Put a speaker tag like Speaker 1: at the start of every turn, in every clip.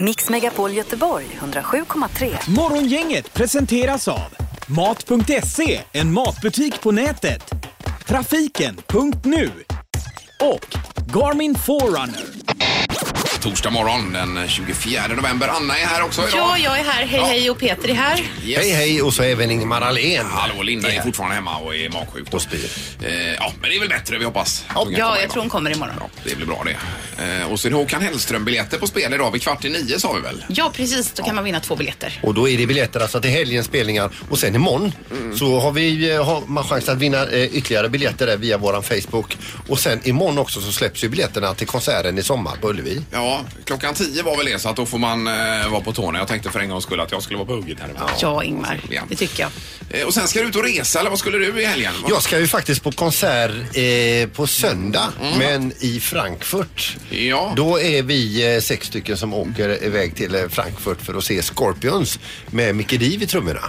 Speaker 1: Mix Megapol Göteborg 107,3.
Speaker 2: Morgongänget presenteras av Mat.se, en matbutik på nätet. Trafiken.nu och Garmin Forerunner.
Speaker 3: Torsdag morgon den 24 november. Anna är här också
Speaker 4: Ja,
Speaker 3: idag.
Speaker 4: jag är här. Hej, hej och Peter är här.
Speaker 3: Yes.
Speaker 5: Hej hej och så även Ingemar Ahlén. Eh,
Speaker 3: Hallå, Linda är
Speaker 5: Ja.
Speaker 3: fortfarande hemma och är magsjuk. då.
Speaker 5: Och spyr.
Speaker 3: Eh, ja, men det är väl bättre, vi hoppas. Att hon kan komma
Speaker 4: Ja, jag
Speaker 3: idag.
Speaker 4: tror hon kommer imorgon.
Speaker 3: Ja, det blir bra det. Eh, och så är det Håkan Hellström-biljetter på spel idag vid kvart i nio sa vi väl?
Speaker 4: Ja, precis. Då kan man vinna två biljetter.
Speaker 5: Och då är det biljetter alltså till helgens spelningar och sen imorgon
Speaker 3: Mm.
Speaker 5: så har, vi, eh, har man chans att vinna eh, ytterligare biljetter där via våran Facebook. Och sen imorgon också så släpps ju biljetterna till konserten i sommar på Ullevi.
Speaker 3: Ja, klockan tio var väl det så att då får man eh, vara på tårna. Jag tänkte för en gångs skull att jag skulle vara på hugget här.
Speaker 4: Ja, Ingmar.
Speaker 3: Ja.
Speaker 4: Det tycker jag.
Speaker 3: Eh, och sen ska du ut och resa eller vad skulle du i helgen? Vad-
Speaker 5: Jag ska ju faktiskt på konsert eh, på söndag, men i Frankfurt.
Speaker 3: Mm. Ja.
Speaker 5: Då är vi eh, sex stycken som åker iväg till eh, Frankfurt för att se Scorpions med Mickey Dee i trummorna.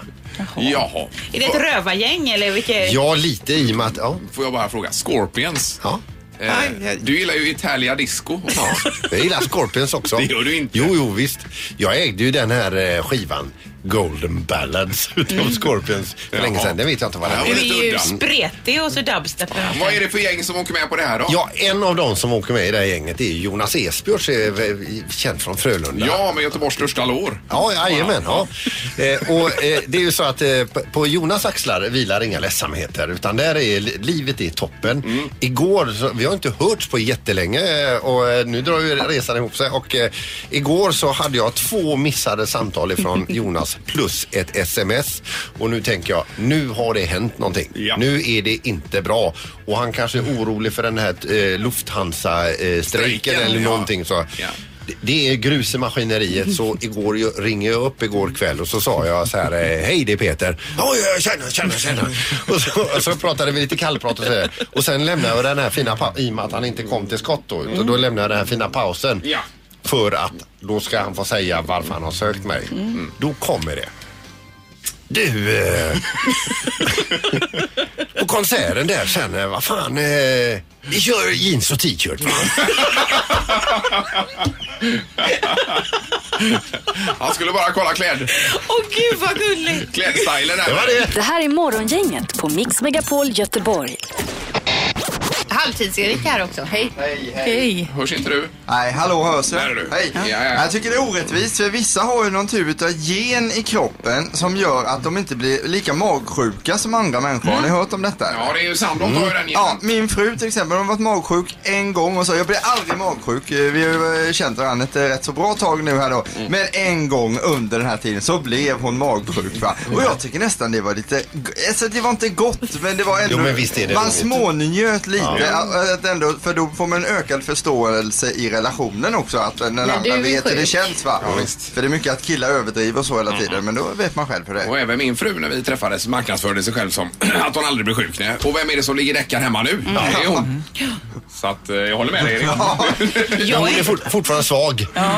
Speaker 3: Jaha.
Speaker 4: Är det ett rövargäng eller vilket?
Speaker 5: Ja, lite i och med att... Ja,
Speaker 3: Får jag bara fråga, Scorpions?
Speaker 5: ja.
Speaker 3: Eh, du gillar ju Italia Disco.
Speaker 5: Ja, jag gillar Scorpions också.
Speaker 3: Det gör du inte.
Speaker 5: Jo, jo, visst. Jag ägde ju den här eh, skivan. Golden Ballads utav Scorpions för länge
Speaker 3: Mm. Jaha.
Speaker 5: sedan. Det vet jag inte vad den
Speaker 3: Ja,
Speaker 4: Du
Speaker 5: är.
Speaker 3: lite
Speaker 4: är ju
Speaker 3: udda.
Speaker 4: spretig och så dubstep.
Speaker 3: Vad är det för gäng som åker med på det här då?
Speaker 5: Ja, en av de som åker med i det här gänget är Jonas Esbjörns, eh, v- känd från Frölunda.
Speaker 3: Ja, med Göteborgs största lår.
Speaker 5: Ja, jajamän. Ja. Eh, och eh, det är ju så att eh, p- på Jonas axlar vilar inga ledsamheter utan där är li- livet är toppen.
Speaker 3: Mm.
Speaker 5: Igår, så, vi har inte hörts på jättelänge eh, och eh, nu drar ju resan ihop sig och eh, igår så hade jag två missade samtal ifrån Jonas plus ett sms och nu tänker jag, nu har det hänt någonting.
Speaker 3: Ja.
Speaker 5: Nu är det inte bra och han kanske är orolig för den här eh, Lufthansa-strejken
Speaker 3: Strejken,
Speaker 5: eller
Speaker 3: ja.
Speaker 5: någonting så.
Speaker 3: Ja.
Speaker 5: Det- Det är grus i maskineriet så igår jag- ringer jag upp igår kväll och så sa jag så här eh, Hej det är Peter. Ja, jag känner, känner, känner. Och så, och så pratade vi lite kallprat och så här. Och sen lämnade jag den här fina pa- i och med att han inte kom till skott då. Och då lämnade jag den här fina pausen.
Speaker 3: Ja.
Speaker 5: För att då ska han få säga varför han har sökt mig. Då kommer det. Du, eh, på konserten där sen, eh, vad fan, eh, vi kör jeans och t-shirt va?
Speaker 3: Han skulle bara kolla kläd,
Speaker 4: Åh gud vad gulligt!
Speaker 3: klädstylen där.
Speaker 5: Det var det.
Speaker 1: Det här är Morgongänget på Mix Megapol Göteborg.
Speaker 4: Halvtids-Erik här också. Hej!
Speaker 6: Hej, hej.
Speaker 4: Hej!
Speaker 3: Hörs inte du?
Speaker 6: Nej, hallå hörs
Speaker 3: Där är du.
Speaker 6: Hej.
Speaker 3: Ja, ja.
Speaker 6: Jag tycker det är orättvist för vissa har ju någon typ av gen i kroppen som gör att de inte blir lika magsjuka som andra människor. Har ni hört om detta?
Speaker 3: Mm. Ja, det är ju Sandholt har
Speaker 5: Mm.
Speaker 3: ju den
Speaker 6: Ja,
Speaker 3: genen.
Speaker 6: min fru till exempel, hon har varit magsjuk en gång och sa jag blir aldrig magsjuk. Eh, Vi har ju eh, känt varandra ett eh, rätt så bra tag nu här då.
Speaker 5: Mm.
Speaker 6: Men en gång under den här tiden så blev hon magsjuk va. Och jag tycker nästan det var lite, alltså det var inte gott men det var ändå,
Speaker 5: Jo, men visst är det
Speaker 6: man
Speaker 5: roligt.
Speaker 6: smånjöt lite. eh, Att ändå, för då får man en ökad förståelse i relationen också. Att eh, när
Speaker 4: du
Speaker 6: andra
Speaker 4: är
Speaker 6: vet hur det
Speaker 4: sjuk.
Speaker 6: känns va. För det är mycket att killar överdriver och så hela
Speaker 5: Mm.
Speaker 6: tiden men då vet man själv hur det är.
Speaker 3: Och även min fru när vi träffades marknadsförde sig själv som att hon aldrig blir sjuk. Nej. Och vem är det som ligger däckad hemma nu?
Speaker 5: Mm.
Speaker 3: Det är hon. Så att eh, jag håller med dig Erik.
Speaker 4: Jag
Speaker 5: Hon är
Speaker 4: är...
Speaker 5: fort, fortfarande svag.
Speaker 3: eh,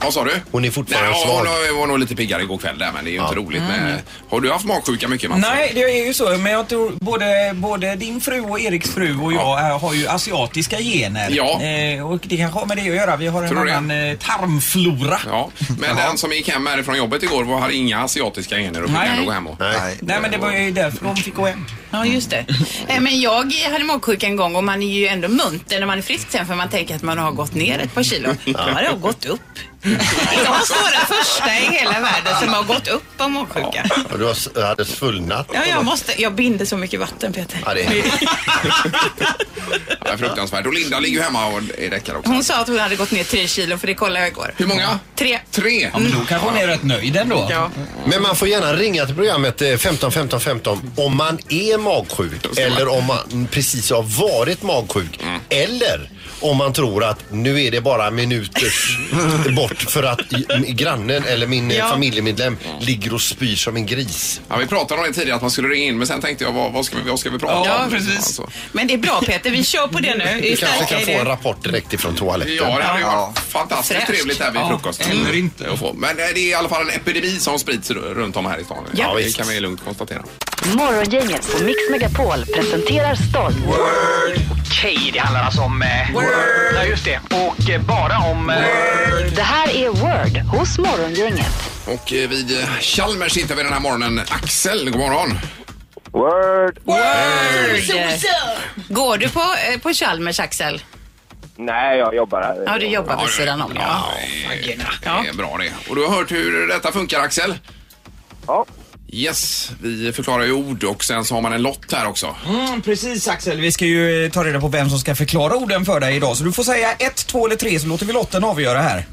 Speaker 3: vad sa du?
Speaker 5: Hon är fortfarande
Speaker 3: Nej,
Speaker 5: svag. Mm.
Speaker 3: Hon var, hon var nog lite piggare igår kväll där men det är ju inte roligt. Med, har du haft magsjuka mycket Mats?
Speaker 7: Nej, det är ju så. Men jag tror både, både din fru och Eriks fru och jag
Speaker 3: Ja.
Speaker 7: eh, har ju asiatiska gener.
Speaker 3: Ja.
Speaker 7: Eh, och det kanske har med det att göra. Vi har en
Speaker 3: Tror du det?
Speaker 7: annan eh, tarmflora.
Speaker 3: Ja, men den som gick hem härifrån jobbet igår var, hade inga asiatiska gener och fick
Speaker 7: Nej.
Speaker 3: ändå gå hem och...
Speaker 5: Nej.
Speaker 7: Nej, men det var ju därför de fick gå hem.
Speaker 4: Ja, just det. Eh, Men jag hade magsjuka en gång och man är ju ändå munter när man är frisk sen för man tänker att man har gått ner ett par kilo. Ja, det har gått upp. Jag var den första i hela världen som har gått upp av magsjuka.
Speaker 5: Och du har s- hade svullnat.
Speaker 4: Ja, jag, måste, jag binder så mycket vatten, Peter.
Speaker 5: Ja, det är
Speaker 3: Ja, fruktansvärt. Och Linda ligger ju hemma och är däckad också.
Speaker 4: Hon sa att hon hade gått ner tre kilo, för det kollade jag igår.
Speaker 3: Hur många?
Speaker 4: Tre.
Speaker 3: Tre.
Speaker 7: Ja, men då kanske hon är rätt nöjd ändå.
Speaker 4: Ja.
Speaker 5: Men man får gärna ringa till programmet eh, 15 15 15 om man är magsjuk eller om man precis har varit magsjuk.
Speaker 4: Mm.
Speaker 5: Eller om man tror att nu är det bara minuters bort för att i- m- grannen eller min eh,
Speaker 4: Ja.
Speaker 5: familjemedlem ligger och spyr som en gris.
Speaker 3: Ja, vi pratade om det tidigare att man skulle ringa in men sen tänkte jag vad, vad, ska, vi, vad ska vi prata
Speaker 7: Ja,
Speaker 3: om?
Speaker 7: precis.
Speaker 3: Alltså.
Speaker 4: Men det är bra Peter, vi kör på det nu. Vi
Speaker 5: Vi kanske
Speaker 4: stärker
Speaker 5: kan få
Speaker 4: det.
Speaker 5: en rapport direkt ifrån toaletten.
Speaker 3: Ja, det hade ju
Speaker 6: Ja.
Speaker 3: varit fantastiskt
Speaker 4: Fräscht.
Speaker 3: trevligt här vid
Speaker 7: Ja,
Speaker 3: frukosten.
Speaker 7: eller inte.
Speaker 3: Att få. Men eh, det är i alla fall en epidemi som sprids r- runt om här i stan.
Speaker 4: Ja,
Speaker 3: det
Speaker 5: visst.
Speaker 3: kan vi lugnt konstatera.
Speaker 1: Morgongänget på Mix Megapol presenterar stolt.
Speaker 8: Okej, det handlar alltså om... Eh, Word! Ja, just det. Och eh, bara om... Eh,
Speaker 1: Det här är Word hos Morgongänget.
Speaker 3: Och eh, vid eh, Chalmers hittar vi den här morgonen Axel. God morgon.
Speaker 9: Word!
Speaker 4: Går du på, eh, på Chalmers, Axel?
Speaker 9: Nej, jag jobbar här.
Speaker 4: Ja, du jobbar vid sidan om. Ja.
Speaker 3: Det är bra det. Och du har hört hur detta funkar Axel?
Speaker 9: Ja.
Speaker 3: Yes, vi förklarar ju ord och sen så har man en lott här också.
Speaker 7: Mm, precis Axel, vi ska ju eh, ta reda på vem som ska förklara orden för dig idag. Så du får säga ett, två eller tre så låter vi lotten avgöra här.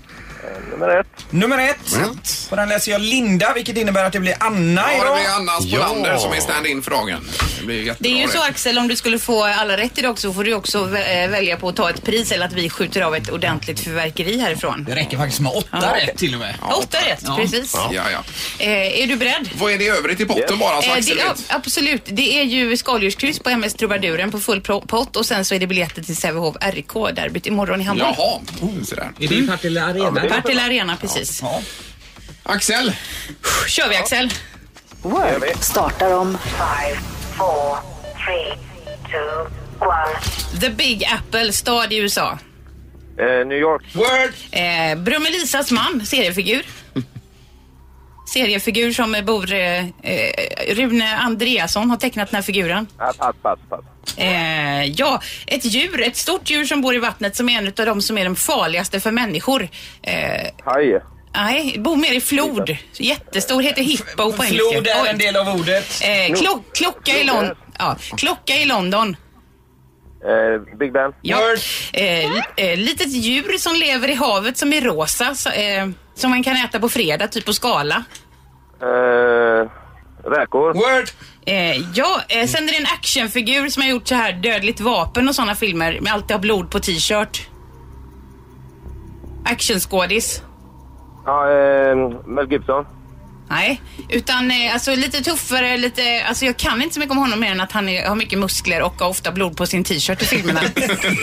Speaker 9: Nummer ett.
Speaker 7: Nummer ett.
Speaker 3: Nummer ett.
Speaker 7: På den läser jag Linda, vilket innebär att det blir Anna
Speaker 3: Ja, det
Speaker 7: idag.
Speaker 3: blir Anna Spolander som är stand-in för dagen. Det blir jättebra
Speaker 4: Det är ju så Axel, om du skulle få alla rätt idag så får du också vä- eh, välja på att ta ett pris eller att vi skjuter av ett ordentligt fyrverkeri härifrån.
Speaker 7: Det räcker faktiskt med åtta rätt till och med.
Speaker 4: Åtta rätt, precis.
Speaker 3: Ja, ja.
Speaker 4: Eh, är du beredd?
Speaker 3: Vad är det i övrigt i botten bara så
Speaker 4: Eh,
Speaker 3: Axel
Speaker 4: det, ja,
Speaker 3: vet?
Speaker 4: absolut. Det är ju skaldjurskryss på MS Trubaduren på full pro- pott och sen så är det biljetter till Sävehof RIK derbyt imorgon i Hamburg.
Speaker 3: Jaha, så där.
Speaker 7: Är det i Partille Arena?
Speaker 4: Partille Arena, precis.
Speaker 3: Axel,
Speaker 4: Kör vi Axel?
Speaker 1: Word startar om
Speaker 4: The Big Apple, stad i USA.
Speaker 9: Eh, New York.
Speaker 7: Word!
Speaker 4: Eh, Brummelisas man, seriefigur. seriefigur som bor... Eh, eh, Rune Andreasson har tecknat den här figuren.
Speaker 9: Ah, pass, pass, pass.
Speaker 4: Eh, ja, ett djur, ett stort djur som bor i vattnet som är en av de som är de farligaste för människor. Eh,
Speaker 9: Haj.
Speaker 4: nej, bor mer i flod. Jättestor, heter hippo på engelska.
Speaker 7: Flod är
Speaker 4: Oj.
Speaker 7: en del av ordet.
Speaker 4: Eh, klock, klocka, i Lon- ja, klocka i London.
Speaker 9: Eh, Big Ben.
Speaker 4: Ja.
Speaker 7: Word.
Speaker 4: Eh, li- eh, litet djur som lever i havet som är rosa. Så, eh, som man kan äta på fredag, typ på skala.
Speaker 9: Eh, räkor.
Speaker 7: Word!
Speaker 4: Eh, ja, eh, sen är det en actionfigur som har gjort så här Dödligt vapen och sådana filmer med alltid ha blod på t-shirt. Actionskådis.
Speaker 9: Ja, eh, Mel Gibson.
Speaker 4: Nej, utan eh, alltså lite tuffare, lite, alltså jag kan inte så mycket om honom mer än att han är, har mycket muskler och har ofta blod på sin t-shirt i filmerna.
Speaker 3: vad dåligt!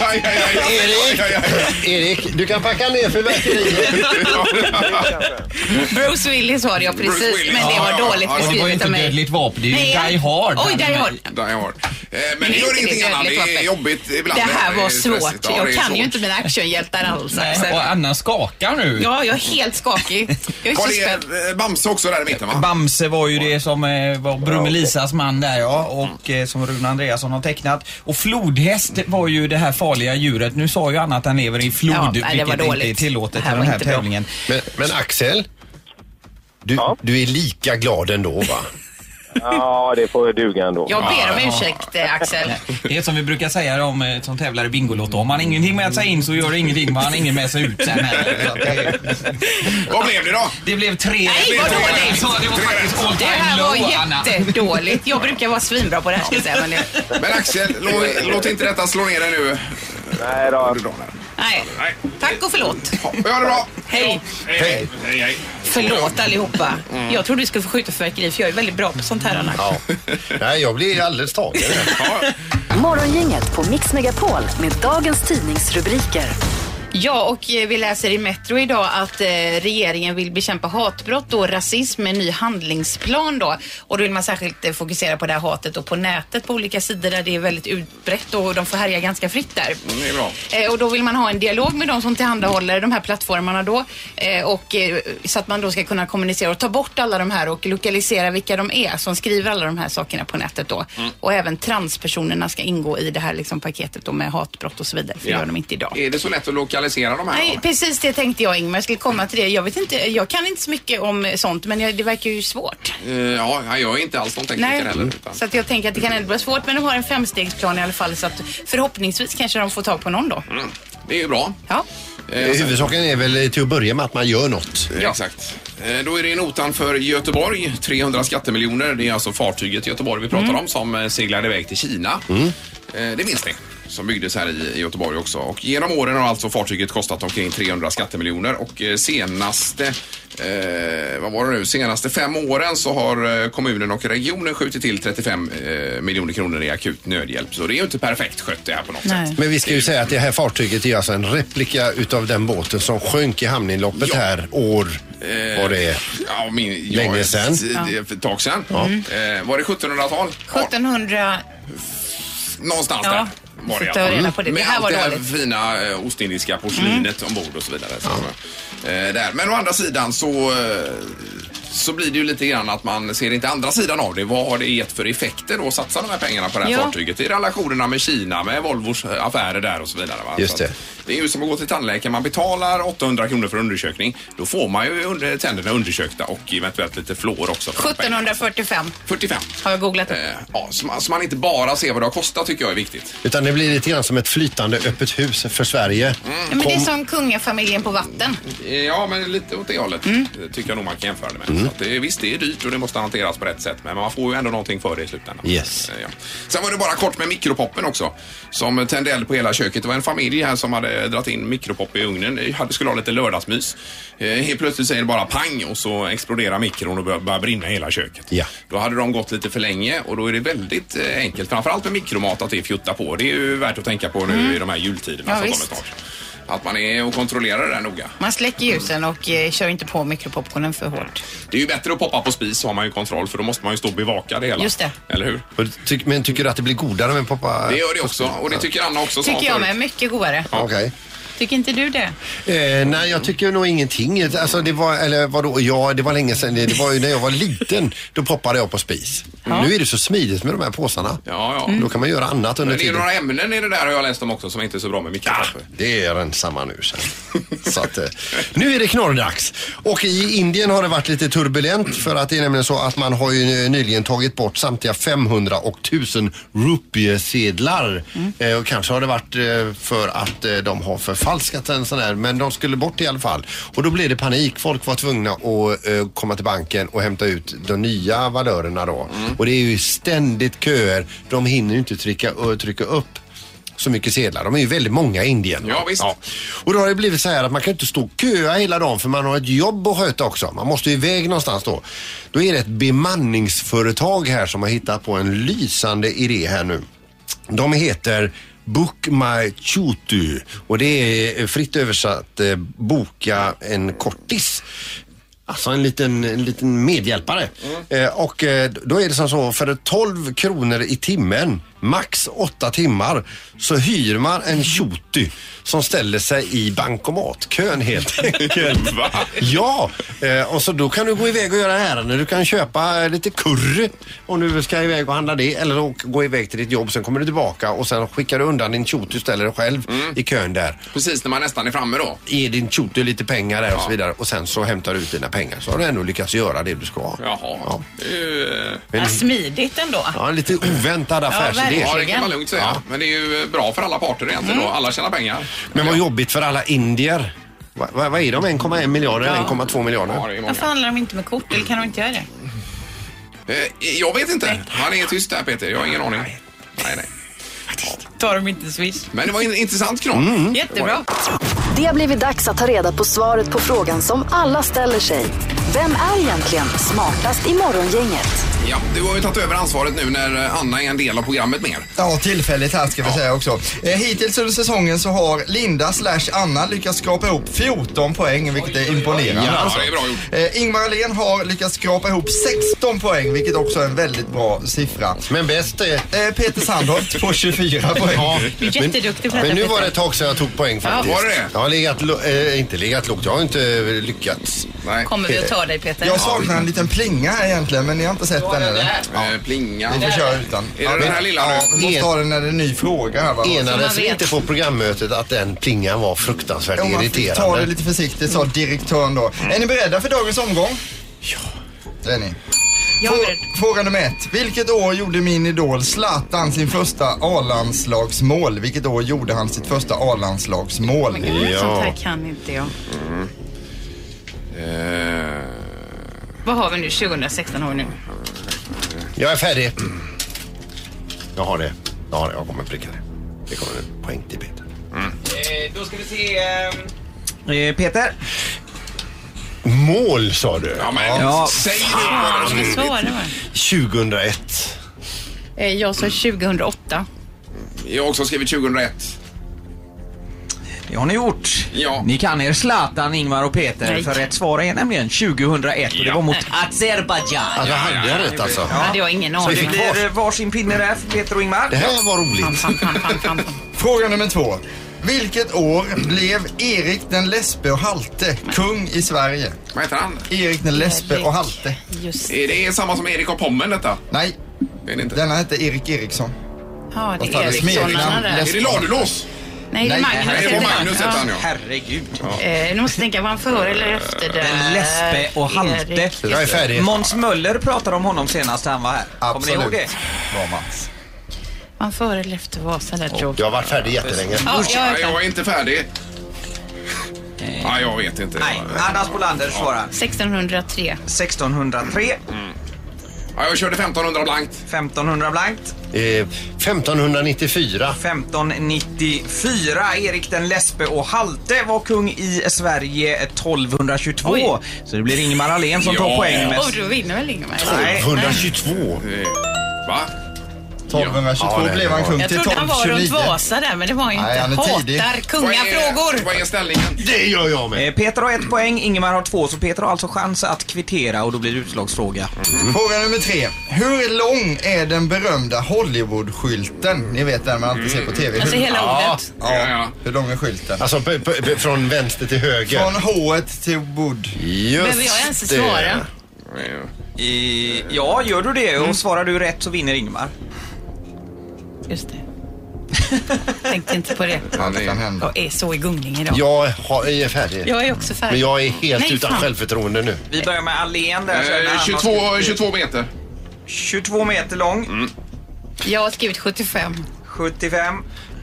Speaker 3: Aj, aj, aj, aj, aj, aj.
Speaker 5: Erik, du kan packa ner fyrverkeriet.
Speaker 4: Bruce Willis var det ja
Speaker 3: Bruce
Speaker 4: precis,
Speaker 3: Willis.
Speaker 4: men det
Speaker 3: Ja,
Speaker 4: var
Speaker 3: ja,
Speaker 4: dåligt
Speaker 3: ja, det var
Speaker 4: beskrivet av mig.
Speaker 7: vapen, det är
Speaker 4: Nej, Oj, Die Hard.
Speaker 3: Die Hard. Eh, Men det gör
Speaker 4: Det är
Speaker 3: ingenting annat. Det
Speaker 4: dödligt
Speaker 3: är
Speaker 4: vapen.
Speaker 3: jobbigt ibland.
Speaker 4: Det här var
Speaker 3: är
Speaker 4: svårt.
Speaker 3: stressigt. Ja, det
Speaker 4: Jag
Speaker 3: är
Speaker 4: kan ju
Speaker 3: svårt.
Speaker 4: inte mina actionhjältar alls. Axel.
Speaker 7: Anna skakar nu.
Speaker 4: Ja, jag är helt skakig. Jag är
Speaker 3: Var
Speaker 4: så spänd.
Speaker 3: det eh, Bamse också där i mitten va?
Speaker 7: Bamse var ju det som eh, var Brummelisas man där ja och eh, som Rune Andreasson har tecknat. Och flodhäst var ju det här farliga djuret. Nu sa ju Anna att han lever i flod
Speaker 4: Ja, nej, det
Speaker 7: vilket
Speaker 4: var
Speaker 7: inte är
Speaker 4: dåligt.
Speaker 7: tillåtet
Speaker 4: Det här
Speaker 7: i den
Speaker 4: var
Speaker 7: här
Speaker 4: inte bra.
Speaker 7: tävlingen.
Speaker 5: Men, men Axel, du,
Speaker 9: Ja.
Speaker 5: du är lika glad ändå va?
Speaker 9: Ja, det får duga ändå.
Speaker 4: Jag ber
Speaker 3: Ah.
Speaker 4: om ursäkt, eh, Axel.
Speaker 7: Det är som vi brukar säga om eh, som tävlar i Bingolotto. Om man ingenting med sig in så gör det ingenting. Man har ingen med sig ut sen heller. Så att det-
Speaker 3: Vad blev det då?
Speaker 7: Det blev tre
Speaker 4: Nej, vad dåligt!
Speaker 7: Så det var faktiskt all
Speaker 4: Det
Speaker 7: time
Speaker 4: här var
Speaker 7: low Anna.
Speaker 4: jättedåligt. Jag brukar vara svinbra på det här ska jag säga. Men det,
Speaker 3: Men Axel, lå- låt inte detta slå ner dig nu.
Speaker 9: Nej då.
Speaker 3: Du drar där.
Speaker 4: nej.
Speaker 3: Nej.
Speaker 4: Tack och förlåt.
Speaker 3: Ja, Ha det bra!
Speaker 4: Hej.
Speaker 3: Hej! Hej, hej.
Speaker 4: Förlåt allihopa.
Speaker 3: Mm.
Speaker 4: Jag trodde vi skulle få skjuta fyrverkeri för jag är väldigt bra på sånt här annars.
Speaker 5: Ja. Nej, jag blir alldeles tagen.
Speaker 3: Ja,
Speaker 1: Morgongänget på Mix Megapol med dagens tidningsrubriker.
Speaker 4: Ja, och eh, vi läser i Metro idag att eh, regeringen vill bekämpa hatbrott och rasism med en ny handlingsplan då. Och då vill man särskilt eh, fokusera på det här hatet och på nätet på olika sidor där det är väldigt utbrett och de får härja ganska fritt där.
Speaker 3: Mm, det är bra.
Speaker 4: Eh, och då vill man ha en dialog med de som tillhandahåller de här plattformarna då. Eh, och, eh, så att man då ska kunna kommunicera och ta bort alla de här och lokalisera vilka de är som skriver alla de här sakerna på nätet då. Och även transpersonerna ska ingå i det här liksom, paketet då med hatbrott och så vidare. För det
Speaker 3: Ja.
Speaker 4: gör de inte idag.
Speaker 3: Är det så lätt att lokalisera de här?
Speaker 4: Nej,
Speaker 3: då?
Speaker 4: precis det tänkte jag Ingmar. Jag skulle komma till det. Jag, vet inte, jag kan inte så mycket om sånt men jag, det verkar ju svårt.
Speaker 3: Eh, Ja, jag är inte alls någon tekniker
Speaker 4: Nej, Mm.
Speaker 3: heller. Utan...
Speaker 4: så att jag tänker att det kan ändå vara svårt men de har en femstegsplan i alla fall så att förhoppningsvis kanske de får tag på någon då.
Speaker 3: Mm, Det är ju bra.
Speaker 4: Ja.
Speaker 3: alltså-
Speaker 5: Huvudsaken är väl till att börja med att man gör något.
Speaker 3: Eh, Exakt. Eh, Då är det notan för Göteborg, 300 skattemiljoner. Det är alltså fartyget Göteborg vi pratar om som eh, seglade iväg till Kina. Eh, Det minns ni som byggdes här i i Göteborg också. Och genom åren har alltså fartyget kostat omkring 300 skattemiljoner och eh, senaste eh, vad var det nu? Senaste fem åren så har eh, kommunen och regionen skjutit till 35 eh, miljoner kronor i akut nödhjälp. Så det är ju inte perfekt skött det här på något
Speaker 4: Nej.
Speaker 3: sätt.
Speaker 5: Men vi ska ju säga att det här fartyget är alltså en replika utav den båten som sjönk i hamninloppet
Speaker 3: Ja. Eh.
Speaker 5: här år vad det är.
Speaker 3: Ja, min, ja,
Speaker 5: Länge
Speaker 3: ett-
Speaker 5: sedan.
Speaker 3: det är För ett tag sedan. Eh, var det 1700-tal?
Speaker 4: 1700...
Speaker 3: Någonstans
Speaker 4: Ja,
Speaker 3: där var det
Speaker 4: sitta och reda på det.
Speaker 3: Med
Speaker 4: Det här
Speaker 3: allt
Speaker 4: var
Speaker 3: det här
Speaker 4: dåligt.
Speaker 3: fina eh, ostindiska porslinet ombord och så vidare. Så,
Speaker 5: Mm.
Speaker 3: eh, där. Men å andra sidan så, eh, så blir det ju lite grann att man ser inte andra sidan av det. Vad har det gett för effekter då att satsa de här pengarna på det här
Speaker 4: Ja.
Speaker 3: fartyget? I relationerna med Kina, med Volvos eh, affärer där och så vidare. Va?
Speaker 5: Just
Speaker 3: Så att
Speaker 5: det.
Speaker 3: det är ju som att gå till tandläkaren. Man betalar 800 kronor för undersökning. Då får man ju under, tänderna undersökta och eventuellt lite fluor också. för de pengarna.
Speaker 4: 1745
Speaker 3: 45.
Speaker 4: har jag googlat upp.
Speaker 3: Eh, ja, så, man, så man inte bara ser vad det har kostat tycker jag är viktigt.
Speaker 5: Utan det blir lite grann som ett flytande öppet hus för Sverige.
Speaker 3: Mm.
Speaker 4: Ja, men det är som kungafamiljen på vatten.
Speaker 3: Eh, Ja, men lite åt det hållet eh, tycker jag nog man kan jämföra det med. Så att det, visst, det är dyrt och det måste hanteras på rätt sätt, men man får ju ändå någonting för det i slutändan.
Speaker 5: Yes.
Speaker 3: Eh, Ja. Sen var det bara kort med mikropoppen också, som tände eld på hela köket. Det var en familj här som hade dragit in mikropop i ugnen, Eh, hade- skulle ha lite lördagsmys. Eh, Helt plötsligt säger det bara pang och så exploderar mikron och bör- börjar brinna i hela köket.
Speaker 5: Ja.
Speaker 3: Då hade de gått lite för länge och då är det väldigt eh, enkelt, framförallt med mikromat, att det är fjutta på. Det är ju värt att tänka på nu i de här jultiderna
Speaker 4: Ja,
Speaker 3: som
Speaker 4: visst.
Speaker 3: kommer snart. Att man är och kontrollerar det där noga.
Speaker 4: Man släcker ljusen och eh, kör inte på mikropopcornen för hårt.
Speaker 3: Det är ju bättre att poppa på spis så har man ju kontroll för då måste man ju stå och bevaka det hela.
Speaker 4: Just det.
Speaker 3: Eller hur?
Speaker 5: Och ty- Men tycker du att det blir godare med poppa?
Speaker 3: Det gör det också och det tycker Anna också. sa
Speaker 4: Tycker jag
Speaker 3: förut.
Speaker 4: med. Mycket godare.
Speaker 5: Okej.
Speaker 4: Tycker inte du det?
Speaker 5: Eh, nej, jag tycker nog ingenting. Alltså, det var, eller vadå, ja, det var länge sedan. Det var ju när jag var liten. Då poppade jag på spis. Nu är det så smidigt med de här påsarna.
Speaker 3: Ja,
Speaker 4: Mm.
Speaker 3: ja.
Speaker 5: Då kan man göra annat under
Speaker 3: Men det är
Speaker 5: tiden.
Speaker 3: några ämnen i det där har jag läst om också som inte är så bra med mikropapper.
Speaker 5: Det är den samma nu sen. Så att, eh, nu är det knorrdags. Och i Indien har det varit lite turbulent för att det är nämligen så att man har ju eh, nyligen tagit bort samtliga 500 och 1000 rupiesedlar. Eh, och kanske har det varit eh, för att eh, de har förfalskat en sån här, men de skulle bort i alla fall. Och då blev det panik. Folk var tvungna att eh, komma till banken och hämta ut de nya valörerna då. Och det är ju ständigt köer. De hinner ju inte trycka, ö, trycka upp så mycket sedlar. De är ju väldigt många i Indien.
Speaker 3: Ja, visst.
Speaker 5: Och då har det blivit så här att man kan inte stå och köa hela dagen för man har ett jobb att sköta också. Man måste ju iväg någonstans då. Då är det ett bemanningsföretag här som har hittat på en lysande idé här nu. De heter Book My Chutu och det är fritt översatt eh, boka en kortis. Alltså en liten, en liten medhjälpare. Eh, och eh, då är det som så, för 12 kronor i timmen, max 8 timmar, så hyr man en tjoty som ställer sig i bankomatkön helt enkelt.
Speaker 3: Va?
Speaker 5: Ja, eh, och så då kan du gå iväg och göra ärenden. Du kan köpa eh, lite curry om du ska iväg och handla det. Eller å- gå iväg till ditt jobb, sen kommer du tillbaka och sen skickar du undan din tjoty och ställer dig själv i kön där.
Speaker 3: Precis när man nästan är framme då.
Speaker 5: Ge din tjoty lite pengar där och
Speaker 3: Ja.
Speaker 5: så vidare. Och sen så hämtar du ut dina pengar. Så har du ändå lyckats göra det du ska.
Speaker 3: Jaha. Ja.
Speaker 5: Ja.
Speaker 3: Det, är ju, eh,
Speaker 4: Ja, smidigt ändå.
Speaker 5: Ja, en lite oväntad affärsidé.
Speaker 3: ja, det
Speaker 4: Verkligen.
Speaker 3: kan man lugnt säga. Men det är ju bra för alla parter egentligen
Speaker 4: Mm.
Speaker 3: då. Alla tjänar pengar.
Speaker 5: Men vad jobbigt för alla indier. Va- va- Vad är de? 1,1 miljarder eller 1,2
Speaker 3: Ja,
Speaker 5: miljarder?
Speaker 3: det är
Speaker 4: Varför
Speaker 3: många.
Speaker 4: handlar de inte med kort? Eller kan de inte göra det?
Speaker 3: Eh, jag vet inte. Han är tyst där Peter. Jag har ingen aning. Nej, nej.
Speaker 4: Tar de inte swish?
Speaker 3: Men det var en intressant knorr.
Speaker 4: Mm. Jättebra.
Speaker 1: Det har blivit dags att ta reda på svaret på frågan som alla ställer sig. Vem är egentligen smartast i Morgongänget?
Speaker 3: Ja, du har ju tagit över ansvaret nu när Anna är en del av programmet mer.
Speaker 6: Ja, tillfälligt här ska vi säga också. Eh, hittills under säsongen så har Linda slash Anna lyckats skrapa ihop 14 poäng, vilket är imponerande.
Speaker 3: Ja,
Speaker 6: alltså.
Speaker 3: det är bra gjort.
Speaker 6: Eh, Ingmar Ahlén har lyckats skrapa ihop 16 poäng, vilket också är en väldigt bra siffra.
Speaker 5: Men bäst är...
Speaker 6: Eh, Peter Sandholt på 24 poäng.
Speaker 4: Du är jätteduktig på detta.
Speaker 5: Men nu var det
Speaker 4: Peter.
Speaker 5: ett tag sedan jag tog poäng faktiskt.
Speaker 3: var det det?
Speaker 5: Jag har legat, lo- eh, inte legat lågt, jag har inte eh, lyckats.
Speaker 3: Nej.
Speaker 4: Kommer vi att ta dig Peter?
Speaker 6: Jag saknar en liten plinga här egentligen, men ni har inte sett den eller?
Speaker 3: Eh, plinga.
Speaker 6: Vi får köra utan.
Speaker 3: Är det den här lilla nu?
Speaker 6: Ja, vi måste ha den när det är en ny fråga här va?
Speaker 5: Enades
Speaker 4: man
Speaker 5: vi
Speaker 4: vet.
Speaker 5: inte på programmötet att den plingan var fruktansvärt
Speaker 6: Om man fick ta det
Speaker 5: irriterande? Mm.
Speaker 6: lite försiktigt sa direktören då. Är ni beredda för dagens omgång? Ja. Det är ni.
Speaker 4: Jag är
Speaker 6: Frå-
Speaker 4: beredd.
Speaker 6: Fråga nummer ett. Vilket år gjorde min idol Zlatan sin första A-landslagsmål? Vilket år gjorde han sitt första
Speaker 4: Oh
Speaker 6: A-landslagsmål?
Speaker 5: Ja.
Speaker 4: Sånt här kan inte jag.
Speaker 3: Eh,
Speaker 4: Vad har vi nu? 2016 har vi nu.
Speaker 5: Jag är färdig. Jag har det. Jag har det. Jag kommer pricka det. Det kommer en poäng till Peter.
Speaker 7: Eh, Då ska vi se... ehm,
Speaker 2: Eh, Peter?
Speaker 5: Mål sa du?
Speaker 3: Ja, men
Speaker 2: Ja.
Speaker 3: säg det!
Speaker 4: Ska jag svara? va?
Speaker 5: 2001.
Speaker 4: Eh, Jag sa 2008.
Speaker 3: Jag har också skrivit 2001.
Speaker 7: Det har ni gjort.
Speaker 3: Ja.
Speaker 7: Ni kan er Zlatan, Ingvar och Peter.
Speaker 4: Nej.
Speaker 7: För rätt svar är nämligen 2001 och det var mot
Speaker 5: Ja,
Speaker 7: Azerbajdzjan.
Speaker 5: det hade jag rätt alltså.
Speaker 4: Ja. Hade jag ingen
Speaker 7: Så
Speaker 4: aning.
Speaker 7: det blir varsin pinne där för Peter och Ingmar.
Speaker 5: Det här var
Speaker 4: Fan,
Speaker 5: roligt.
Speaker 4: fan, fan, fan, fan.
Speaker 6: Fråga nummer två. Vilket år blev Erik den lesbe och halte kung i Sverige?
Speaker 3: Vad heter han?
Speaker 6: Erik den lesbe och halte.
Speaker 4: Just
Speaker 3: Är det samma som Erik och Pommen detta?
Speaker 6: Nej,
Speaker 3: Är det inte?
Speaker 6: denna hette Erik Eriksson.
Speaker 4: Ja, det
Speaker 6: Vad fan,
Speaker 4: är
Speaker 6: det smeker
Speaker 4: Erikssonarna
Speaker 6: namn.
Speaker 4: där.
Speaker 3: Är det Ladulås?
Speaker 4: Nej, det är
Speaker 6: Nej,
Speaker 4: Magnus.
Speaker 3: Nej, det var
Speaker 4: heter han.
Speaker 3: Magnus hette han ja.
Speaker 7: Herregud.
Speaker 4: Eh, nu måste jag tänka, var han före eller efter det?
Speaker 7: Den lesbe och halte.
Speaker 4: Erik.
Speaker 5: Jag är färdig.
Speaker 7: Måns Möller pratade om honom senast han var här. Kommer ni ihåg
Speaker 6: Absolut.
Speaker 7: det?
Speaker 6: Bra Mats.
Speaker 4: Var han före eller efter Vasa där, Joe?
Speaker 5: Jag har varit färdig jättelänge.
Speaker 4: Ja, jag
Speaker 3: Nej,
Speaker 4: vet
Speaker 3: jag
Speaker 4: inte. Eh.
Speaker 3: är inte färdig. Nej, jag vet inte.
Speaker 7: Nej, Anna Spolander svarar.
Speaker 4: 1603.
Speaker 7: 1603,
Speaker 3: Ja, jag körde 1500 blankt.
Speaker 7: 1500 blankt,
Speaker 5: Eh, 1594.
Speaker 7: 1594. Erik den lesbe och halte var kung i Sverige 1222.
Speaker 4: Oj.
Speaker 7: Så det blir Ingemar Ahlén som tar
Speaker 3: Ja.
Speaker 7: poäng
Speaker 4: Åh,
Speaker 7: med...
Speaker 4: då vinner väl Ingemar?
Speaker 5: 122.
Speaker 3: Eh, Va?
Speaker 6: 1222
Speaker 5: Ja, det-
Speaker 6: blev han kung
Speaker 4: Jag
Speaker 6: till
Speaker 4: trodde han var runt
Speaker 6: 1229.
Speaker 4: Vasa där, men det var ju inte.
Speaker 6: Nej, han är tidig.
Speaker 4: Hatar
Speaker 3: Vad är-
Speaker 4: kungafrågor.
Speaker 3: Vad är ställningen?
Speaker 5: Det gör jag med.
Speaker 7: Eh, Peter har ett poäng, Ingemar har två, så Peter har alltså chans att kvittera och då blir det utslagsfråga.
Speaker 6: Fråga nummer tre. Hur lång är den berömda Hollywood-skylten? Ni vet den man alltid ser på TV.
Speaker 4: Alltså
Speaker 6: Hur-
Speaker 4: hela ordet.
Speaker 3: Ja, ja.
Speaker 6: Hur lång är skylten?
Speaker 5: Alltså p- p- p- från vänster till höger.
Speaker 6: Från H till Wood.
Speaker 5: Just
Speaker 4: Behöver jag ens
Speaker 5: det.
Speaker 4: svara?
Speaker 3: Eh,
Speaker 7: Eh, ja, gör du det och svarar du rätt så vinner Ingemar.
Speaker 4: Just det. Tänkte inte på det.
Speaker 6: Allt kan hända.
Speaker 4: Jag är så i gungning idag.
Speaker 5: Jag har- jag är färdig.
Speaker 4: Jag är också
Speaker 5: Men
Speaker 4: färdig.
Speaker 5: jag är helt
Speaker 4: Nej,
Speaker 5: utan
Speaker 4: fan.
Speaker 5: självförtroende nu.
Speaker 7: Vi börjar med Ahlén där. så är det
Speaker 3: eh,
Speaker 7: Anna
Speaker 3: 22, 22 meter.
Speaker 7: 22 meter lång,
Speaker 4: Jag har skrivit 75.
Speaker 7: 75.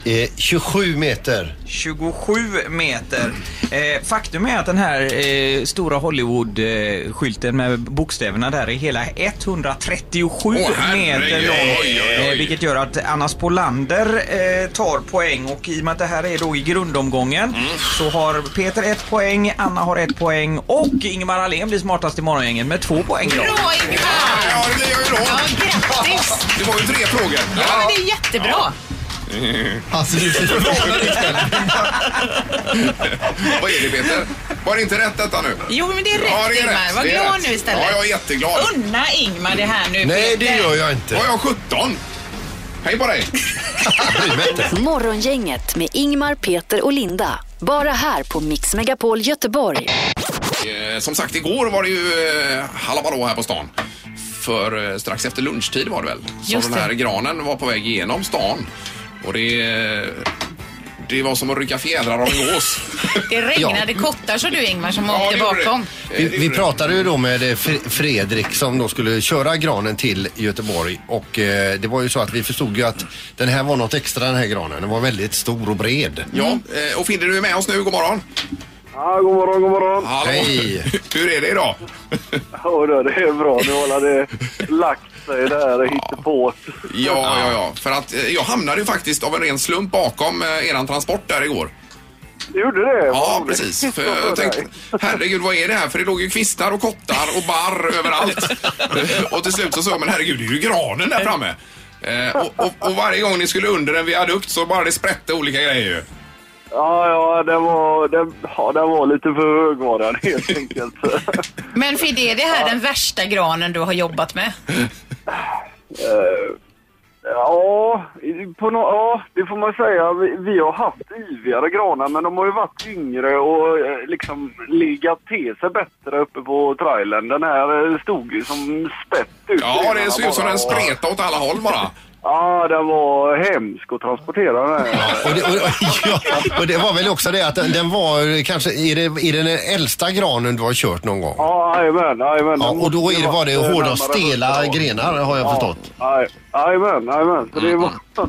Speaker 5: Eh, 27 meter.
Speaker 7: 27 meter. Eh, faktum är att den här eh, stora Hollywood-skylten med bokstäverna där är hela 137
Speaker 3: Åh, herregud.
Speaker 7: meter lång.
Speaker 3: Oj, oj, oj.
Speaker 7: Eh, vilket gör att Anna Spolander eh, tar poäng och i och med att det här är då i grundomgången
Speaker 3: Mm.
Speaker 7: så har Peter ett poäng, Anna har ett poäng och Ingemar Ahlén blir smartast i morgongängen med två poäng. Då.
Speaker 4: Bra
Speaker 3: Ja,
Speaker 4: Ingemar!
Speaker 3: Ja, det blir jag ju då.
Speaker 4: Ja, grattis!
Speaker 3: Det var ju tre frågor.
Speaker 4: Ja,
Speaker 3: Ja.
Speaker 4: men det är jättebra.
Speaker 6: Alltså du ser förvånad ut.
Speaker 3: Vad är det Peter? Var det inte rätt detta nu?
Speaker 4: Jo, men det är rätt,
Speaker 3: Ja, det är
Speaker 4: Ingmar.
Speaker 3: rätt.
Speaker 4: Var
Speaker 3: Det är
Speaker 4: glad
Speaker 3: rätt.
Speaker 4: nu istället.
Speaker 3: Ja, jag är jätteglad.
Speaker 4: Unna Ingmar det här nu.
Speaker 5: Nej, det
Speaker 4: Peter.
Speaker 5: gör jag
Speaker 3: Var
Speaker 5: inte.
Speaker 3: jag 17? Hej på dig!
Speaker 1: Morgongänget med Ingmar, Peter och Linda. Bara här på Mix Megapol Göteborg.
Speaker 3: Eh, Som sagt, igår var det ju eh, halabalå här på stan. För eh, strax efter lunchtid var det väl? Som
Speaker 4: Just
Speaker 3: den här
Speaker 4: det.
Speaker 3: granen var på väg genom stan. Och det... eh, Det var som att rycka fjädrar av en gås.
Speaker 4: Det regnade kottar så du Ingmar som
Speaker 3: Ja,
Speaker 4: åkte
Speaker 3: det gjorde det.
Speaker 4: bakom.
Speaker 3: Eh,
Speaker 5: Vi,
Speaker 3: det gjorde
Speaker 5: vi
Speaker 3: det.
Speaker 5: pratade ju då med eh, Fre- Fredrik som då skulle köra granen till Göteborg och eh, det var ju så att vi förstod ju att den här var något extra den här granen. Den var väldigt stor och bred.
Speaker 3: Ja, eh, och Finder du är med oss nu. God morgon!
Speaker 10: Ja, god morgon, god morgon.
Speaker 3: Hallå.
Speaker 5: Hej.
Speaker 3: Hur är det idag?
Speaker 10: Ja, då, det är bra. Nu har det lagt sig där och hittat på.
Speaker 3: Ja, ja, ja. För att eh, jag hamnade ju faktiskt av en ren slump bakom eh, eran transport där igår.
Speaker 10: Gjorde det? Vad
Speaker 3: Ja,
Speaker 10: roligt.
Speaker 3: precis. För
Speaker 10: Vad bra
Speaker 3: jag tänkte,
Speaker 10: dig.
Speaker 3: herregud vad är det här? För det låg ju kvistar och kottar och barr överallt. och till slut så sa jag, men herregud det är ju granen där framme. Eh, och, och, och varje gång ni skulle under en viadukt så bara det sprätte olika grejer ju.
Speaker 10: Ja, ja, den var, den, ja, den var lite för hög var den helt enkelt.
Speaker 4: Men för det är det här den värsta granen du har jobbat med?
Speaker 10: Eh, ja, på nå- ja, det får man säga. Vi, vi har haft ivigare granar, men de har ju varit yngre och eh, liksom legat till sig bättre uppe på trailern. Den här eh, stod ju som spett ut.
Speaker 3: Ja, det såg ut som den
Speaker 10: bara, och-
Speaker 3: spretade åt alla håll bara.
Speaker 10: Ja, den var hemsk att transportera den här.
Speaker 5: Och det, och, ja, och det var väl också det att den, den var kanske, är det, är det den äldsta granen du har kört någon gång?
Speaker 10: Ja, jajamän, jajamän.
Speaker 5: Ja, och då är det, var det
Speaker 10: Eh,
Speaker 5: hårda
Speaker 10: närmare
Speaker 5: och stela
Speaker 10: 100 år.
Speaker 5: grenar har jag förstått. Mm,
Speaker 10: Ja, Jajamän, jajamän. Så det var,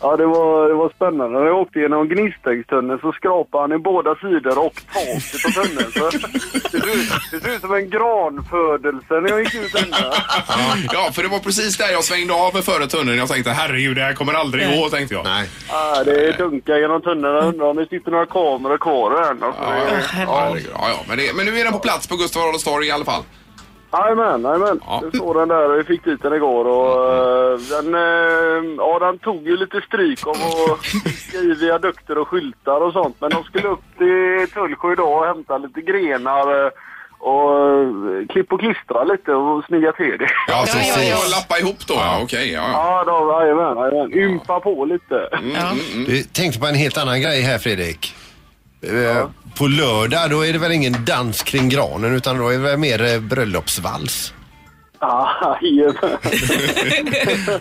Speaker 10: ja, det var, det var spännande. När jag åkte genom Gnistängstunneln så skrapade han i båda sidor och taket och tunneln. Så det, ser ut, det ser ut som en granfödelse när jag gick ut ända.
Speaker 3: Ja, för det var precis där jag svängde av före tunneln. Jag tänkte, herregud det här kommer aldrig gå, tänkte jag.
Speaker 5: Nej.
Speaker 10: Ja, det är dunkar genom tunneln. Jag undrar om det sitter några kameror kvar än. Alltså,
Speaker 3: Ja,
Speaker 10: det,
Speaker 3: ja, herregud. ja, ja men, det, men nu är den på plats på Gustav Adolfs torg i alla fall.
Speaker 9: Jajamän, jajamän.
Speaker 3: Ja.
Speaker 9: Jag såg den där och fick dit den igår och eh, den, eh, ja, den tog ju lite stryk av att fiska i viadukter och skyltar och sånt. Men de skulle upp till Tullsjö idag och hämta lite grenar eh, och eh, klipp och klistra lite och snygga till det.
Speaker 3: Ja, så
Speaker 4: Ja, ja, ja.
Speaker 3: får lappa ihop då. Ja, okej. ja, ja.
Speaker 9: Ja, då, jajamän, jajamän. Ympa på lite.
Speaker 3: Mm.
Speaker 4: Ja.
Speaker 5: Du tänkte på en helt annan grej här Fredrik. Eh, På lördag då är det väl ingen dans kring granen utan då är det väl mer eh, bröllopsvals.
Speaker 9: Ja, jajamän.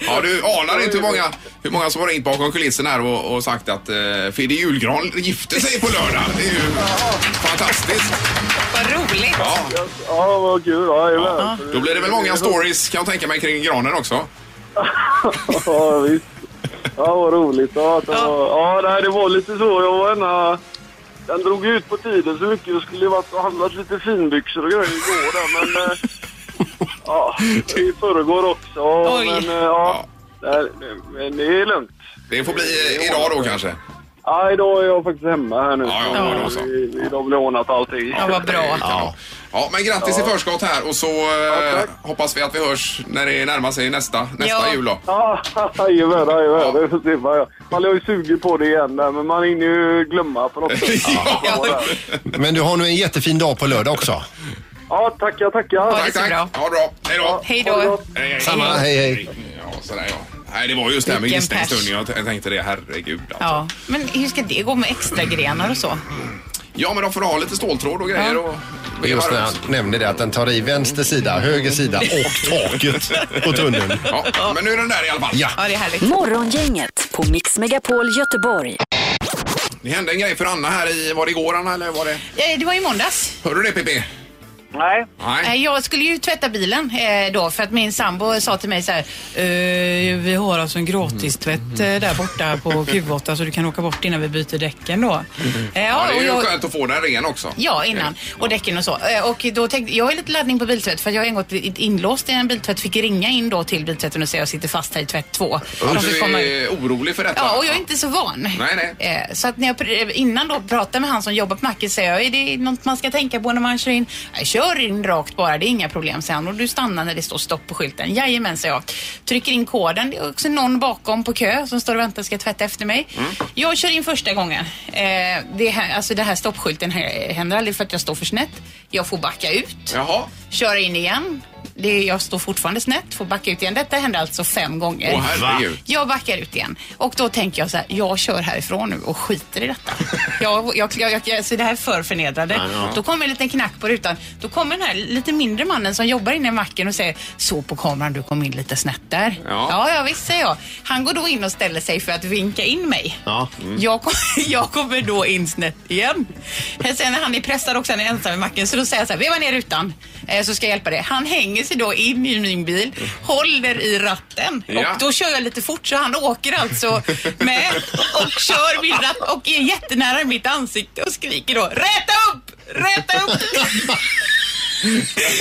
Speaker 3: Ja, du anar inte hur många, hur många som har ringt bakom kulisserna här och, och sagt att eh, Fidde Julgran gifte sig på lördag. Det är ju fantastiskt.
Speaker 4: Vad roligt.
Speaker 3: Ja,
Speaker 9: Ja, vad kul. Ja, jajamän.
Speaker 3: då blir det väl många stories kan jag tänka mig kring granen också.
Speaker 9: Ja, visst. Ja, vad roligt. Ja, att det, var, ja, nej, det var lite så. Jag var ena, den drog ut på tiden så mycket. Jag skulle ju varit och handlat lite finbyxor och grejer igår där, men... eh, Ja, i förrgår också.
Speaker 4: Oj.
Speaker 9: Men eh, ja, nej, men det är lugnt.
Speaker 3: Det får bli eh, idag då kanske.
Speaker 9: Ja, idag är jag faktiskt hemma här nu.
Speaker 3: Ja, ja, då så.
Speaker 9: I- Idag blir ordnat allting.
Speaker 4: Ja, vad bra.
Speaker 3: Ja. Ja, men grattis i förskott här och så eh,
Speaker 9: Ja, tack.
Speaker 3: hoppas vi att vi hörs när det närmar sig nästa, nästa
Speaker 4: Ja.
Speaker 3: jul då.
Speaker 9: Ja, jajamän, jajamän. Det är så trevligt. Man är ju sugen på det igen där, men man hinner ju glömma på något sätt.
Speaker 3: Ja.
Speaker 5: Men du har nu en jättefin dag på lördag också.
Speaker 9: Ja, tackar, tackar.
Speaker 4: det
Speaker 3: Tack,
Speaker 4: är så
Speaker 3: tack.
Speaker 4: bra.
Speaker 3: Ja, bra. Hej då.
Speaker 4: Hej
Speaker 9: Ha det
Speaker 4: då.
Speaker 9: gott.
Speaker 3: Hej, hej.
Speaker 5: Samma, hej hej.
Speaker 3: Ja, sådär ja. Nej, det var just det här med
Speaker 4: Vilken
Speaker 3: gissningsstunden. Jag t- jag tänkte det, herregud. Alltså. Ja.
Speaker 4: Ja, men hur ska det gå med extra grenar och så?
Speaker 3: men de får ha lite ståltråd och grejer.
Speaker 4: Ja.
Speaker 3: Och
Speaker 5: Och Just när han nämnde det att den tar i vänster sida, höger sida och taket på tunneln.
Speaker 3: Ja, men nu är den där i alla fall.
Speaker 5: Ja.
Speaker 4: Ja, det är härligt.
Speaker 1: Morgongänget på Mix Megapol Göteborg.
Speaker 3: Det hände en grej för Anna här i, var det igår Anna eller var det?
Speaker 4: Eh, Det var i måndags.
Speaker 3: Hörde du det Pippi?
Speaker 9: Nej.
Speaker 3: Nej.
Speaker 4: Eh, Jag skulle ju tvätta bilen eh, då för att min sambo sa till mig så här. "Eh, Vi har alltså en gratistvätt
Speaker 3: Mm.
Speaker 4: eh, där borta på Q8 så du kan åka bort innan vi byter däcken då. Eh,
Speaker 3: Mm. Ja, det
Speaker 4: och
Speaker 3: är ju
Speaker 4: jag-
Speaker 3: skönt att få den ren också.
Speaker 4: Ja, innan. Och däcken och så. Eh, Och då tänkte, jag har lite laddning på biltvätt för jag har en gång blivit inlåst i en biltvätt. Fick ringa in då till biltvätten och säga jag sitter fast här i tvätt två.
Speaker 3: Och
Speaker 4: De
Speaker 3: Du
Speaker 4: fick komma ut.
Speaker 3: är orolig för detta?
Speaker 4: Ja, och jag är inte så van.
Speaker 3: Nej, nej.
Speaker 4: Eh, Så att när jag pr- innan då pratade med han som jobbar på macken säger jag, är det något man ska tänka på när man kör in? Nej, kör in rakt bara, det är inga problem, säger han. Och du stannar när det står stopp på skylten. Jajamän, säger jag. Trycker in koden. Det är också någon bakom på kö som står och väntar och ska tvätta efter mig.
Speaker 3: Mm.
Speaker 4: Jag kör in första gången. Eh, det, här, alltså det här stoppskylten här händer aldrig för att jag står för snett. Jag får backa ut
Speaker 3: Jaha.
Speaker 4: köra in igen. Det, jag står fortfarande snett, får backa ut igen. Detta hände alltså fem gånger.
Speaker 3: Åh, herregud.
Speaker 4: jag backar ut igen och då tänker jag så här, jag kör härifrån nu och skiter i detta. jag, jag, jag, jag, alltså det här är för förnedrande. Då kommer en liten knack på rutan. Då kommer den här lite mindre mannen som jobbar inne i macken och säger, så på kameran, du kom in lite snett där.
Speaker 3: Ja.
Speaker 4: ja, ja visst säger jag. Han går då in och ställer sig för att vinka in mig. Jag, kom, jag kommer då in snett igen. Men Sen när han är pressad också, han är ensam i macken, så då säger jag så här, veva ner rutan eh, så ska jag hjälpa dig. Han hänger sig då in i min bil, håller i ratten
Speaker 3: Ja.
Speaker 4: och då kör jag lite fort så han åker alltså med och kör min ratt och är jättenära mitt ansikte och skriker då räta upp, räta upp.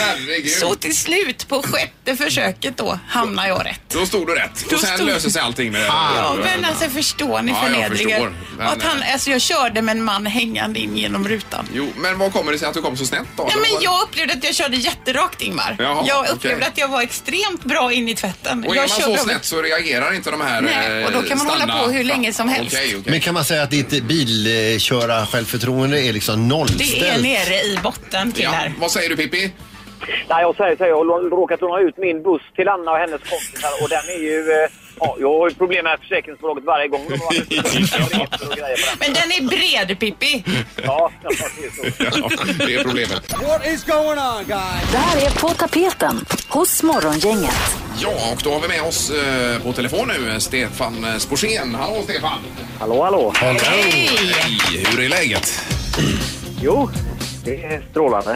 Speaker 3: Herregud.
Speaker 4: Så till slut på sjätte försöket då hamnar jag rätt.
Speaker 3: Då stod du rätt.
Speaker 4: Då
Speaker 3: Och sen
Speaker 4: stod-
Speaker 3: löser sig allting med...
Speaker 4: Ja, men alltså förstår ni
Speaker 3: Ja, jag
Speaker 4: förnedringen?
Speaker 3: förstår. Men-
Speaker 4: Ja, att han, alltså jag körde med en man hängande in genom rutan.
Speaker 3: Jo, men vad kommer det sig att du kom så snett då?
Speaker 4: Nej, men
Speaker 3: Var-
Speaker 4: jag upplevde att jag körde jätterakt Ingmar.
Speaker 3: Jaha,
Speaker 4: jag upplevde
Speaker 3: okej.
Speaker 4: att jag var extremt bra in i tvätten.
Speaker 3: Och är
Speaker 4: jag
Speaker 3: man så
Speaker 4: över-
Speaker 3: snett så reagerar inte de här
Speaker 4: Nej, och då
Speaker 3: eh,
Speaker 4: kan man hålla
Speaker 3: standard-
Speaker 4: på hur länge som helst.
Speaker 3: Okej, okej.
Speaker 5: Men kan man säga att ditt bilköra självförtroende är liksom
Speaker 4: Det är
Speaker 5: nollställt?
Speaker 4: nere i botten
Speaker 3: Ja,
Speaker 4: killar.
Speaker 3: vad säger du Pippi?
Speaker 9: Nej, jag säger så här, jag har råkat låna ut min buss till Anna och hennes kompisar och den är ju... eh, Ja, jag har ju problem med försäkringsbolaget varje gång de har varit ute och grejer på den.
Speaker 4: Men den är bred Pippi.
Speaker 9: Ja, ja, det är så.
Speaker 3: Ja, det är problemet.
Speaker 1: Det här är På tapeten hos Morgongänget.
Speaker 3: Ja, och då har vi med oss eh, på telefon nu Stefan eh, Sporsén. Hallå Stefan!
Speaker 9: Hallå, hallå!
Speaker 4: Hej!
Speaker 3: Hej, hur är läget?
Speaker 9: Jo, det är strålande.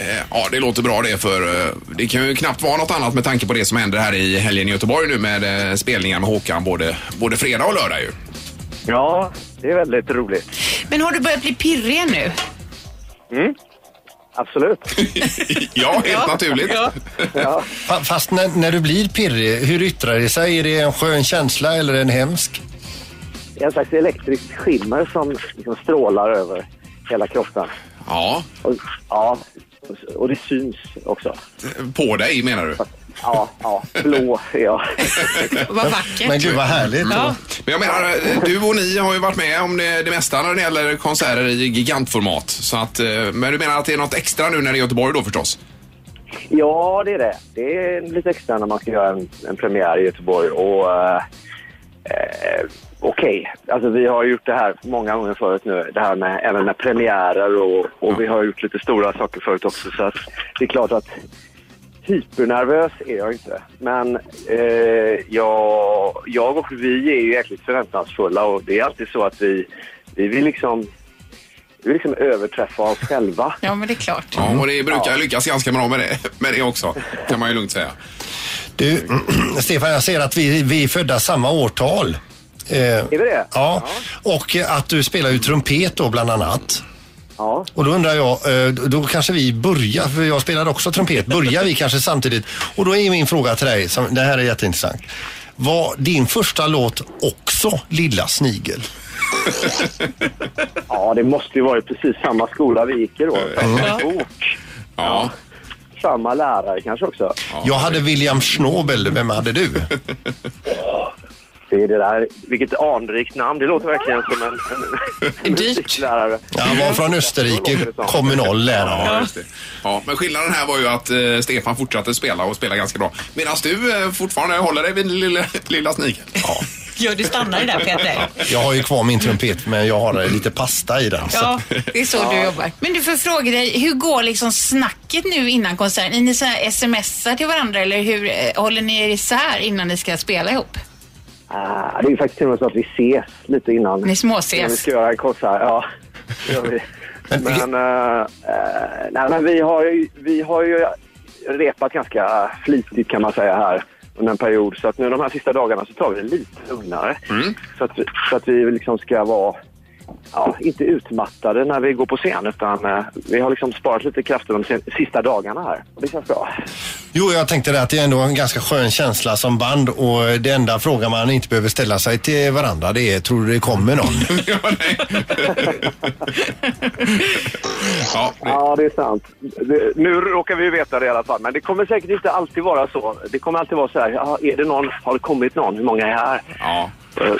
Speaker 3: Eh, Ja, det låter bra det för eh, det kan ju knappt vara något annat med tanke på det som händer här i helgen i Göteborg nu med eh, spelningar med Håkan både, både fredag och lördag ju.
Speaker 9: Ja, det är väldigt roligt. Mm.
Speaker 4: Men har du börjat bli pirrig nu?
Speaker 9: Absolut.
Speaker 3: Ja, helt naturligt.
Speaker 4: Ja.
Speaker 5: Fa- Fast när, när du blir pirrig, hur yttrar det sig? Är det en skön känsla eller en hemsk?
Speaker 9: Det är en slags elektriskt skimmer som liksom strålar över hela kroppen.
Speaker 3: Ja,
Speaker 9: Och, ja, Och det syns också.
Speaker 3: På dig menar du?
Speaker 9: Ja, ja. Blå är jag.
Speaker 4: Vad vackert.
Speaker 5: Men gud vad härligt.
Speaker 4: Ja.
Speaker 3: Men jag menar, du och ni har ju varit med om det, det mesta när det gäller konserter i gigantformat. Så att, eh, men du menar att det är något extra nu när det är Göteborg då förstås?
Speaker 9: Ja, det är det. Det är lite extra när man ska göra en, en premiär i Göteborg. Och eh, eh, okej, alltså vi har gjort det här många gånger förut nu. Det här med, även med premiärer och, och vi har gjort lite stora saker förut också. Så att det är klart att hypernervös är jag inte. Men eh, jag, jag och vi är ju jäkligt förväntansfulla och det är alltid så att vi, vi vill liksom vi vill liksom överträffa oss själva.
Speaker 4: ja, men det är klart.
Speaker 5: Mm.
Speaker 3: Ja, och det brukar lyckas ganska bra med det, med det också, kan man ju lugnt säga.
Speaker 5: Du, Stefan, jag ser att vi, vi är födda samma årtal. Eh, är
Speaker 9: vi det?
Speaker 5: Ja. Och eh, att du spelar ju trumpet då bland annat.
Speaker 9: Ja.
Speaker 5: Och då undrar jag, eh, då kanske vi börjar, för jag spelar också trumpet, börjar vi kanske samtidigt? Och då är min fråga till dig, som, det här är jätteintressant. Var din första låt också Lilla Snigel?
Speaker 9: Ja, det måste ju varit precis samma skola vi gick i då. Samma bok,
Speaker 3: Ja.
Speaker 9: samma lärare kanske också.
Speaker 5: Jag hade William Schnobel, vem hade du?
Speaker 9: Det är det där, vilket anrikt namn. Det låter verkligen som en, en, en musiklärare.
Speaker 5: Han var från Österrike, kommunal lärare.
Speaker 3: Ja, just det. ja, men skillnaden här var ju att eh, Stefan fortsatte spela och spela ganska bra. Medan du eh, fortfarande håller dig vid lilla, lilla snigeln. Ja.
Speaker 4: Ja, du stannar ju där Peter.
Speaker 5: Jag har ju kvar min trumpet, men jag har eh, lite pasta i den. Så.
Speaker 4: Ja, det är så du jobbar. Men du får fråga dig, hur går liksom snacket nu innan konserten? Är ni så här smsar till varandra eller hur eh, håller ni er isär innan ni ska spela ihop?
Speaker 9: Ah, det är ju faktiskt till och med så att vi ses lite innan.
Speaker 4: Ni
Speaker 9: Innan vi
Speaker 4: småses?
Speaker 9: ska göra en konsert, ja. Det gör vi. Men, eh, eh, nej, men vi, har ju, vi har ju repat ganska flitigt kan man säga här under en period. Så att nu de här sista dagarna så tar vi det lite lugnare. Så, att vi, så att vi liksom ska vara, ja, inte utmattade när vi går på scen utan eh, vi har liksom sparat lite krafter de sen- sista dagarna här. Och det känns bra.
Speaker 5: Jo, jag tänkte det att det är ändå en ganska skön känsla som band och det enda frågan man inte behöver ställa sig till varandra det är tror du det kommer någon?
Speaker 3: ja, nej. ja, det-
Speaker 9: Ja, det är sant. Det, nu råkar vi ju veta det i alla fall, men det kommer säkert inte alltid vara så. Det kommer alltid vara så här, ja, är det någon, har det kommit någon, hur många är här?
Speaker 3: ja.
Speaker 9: Eh,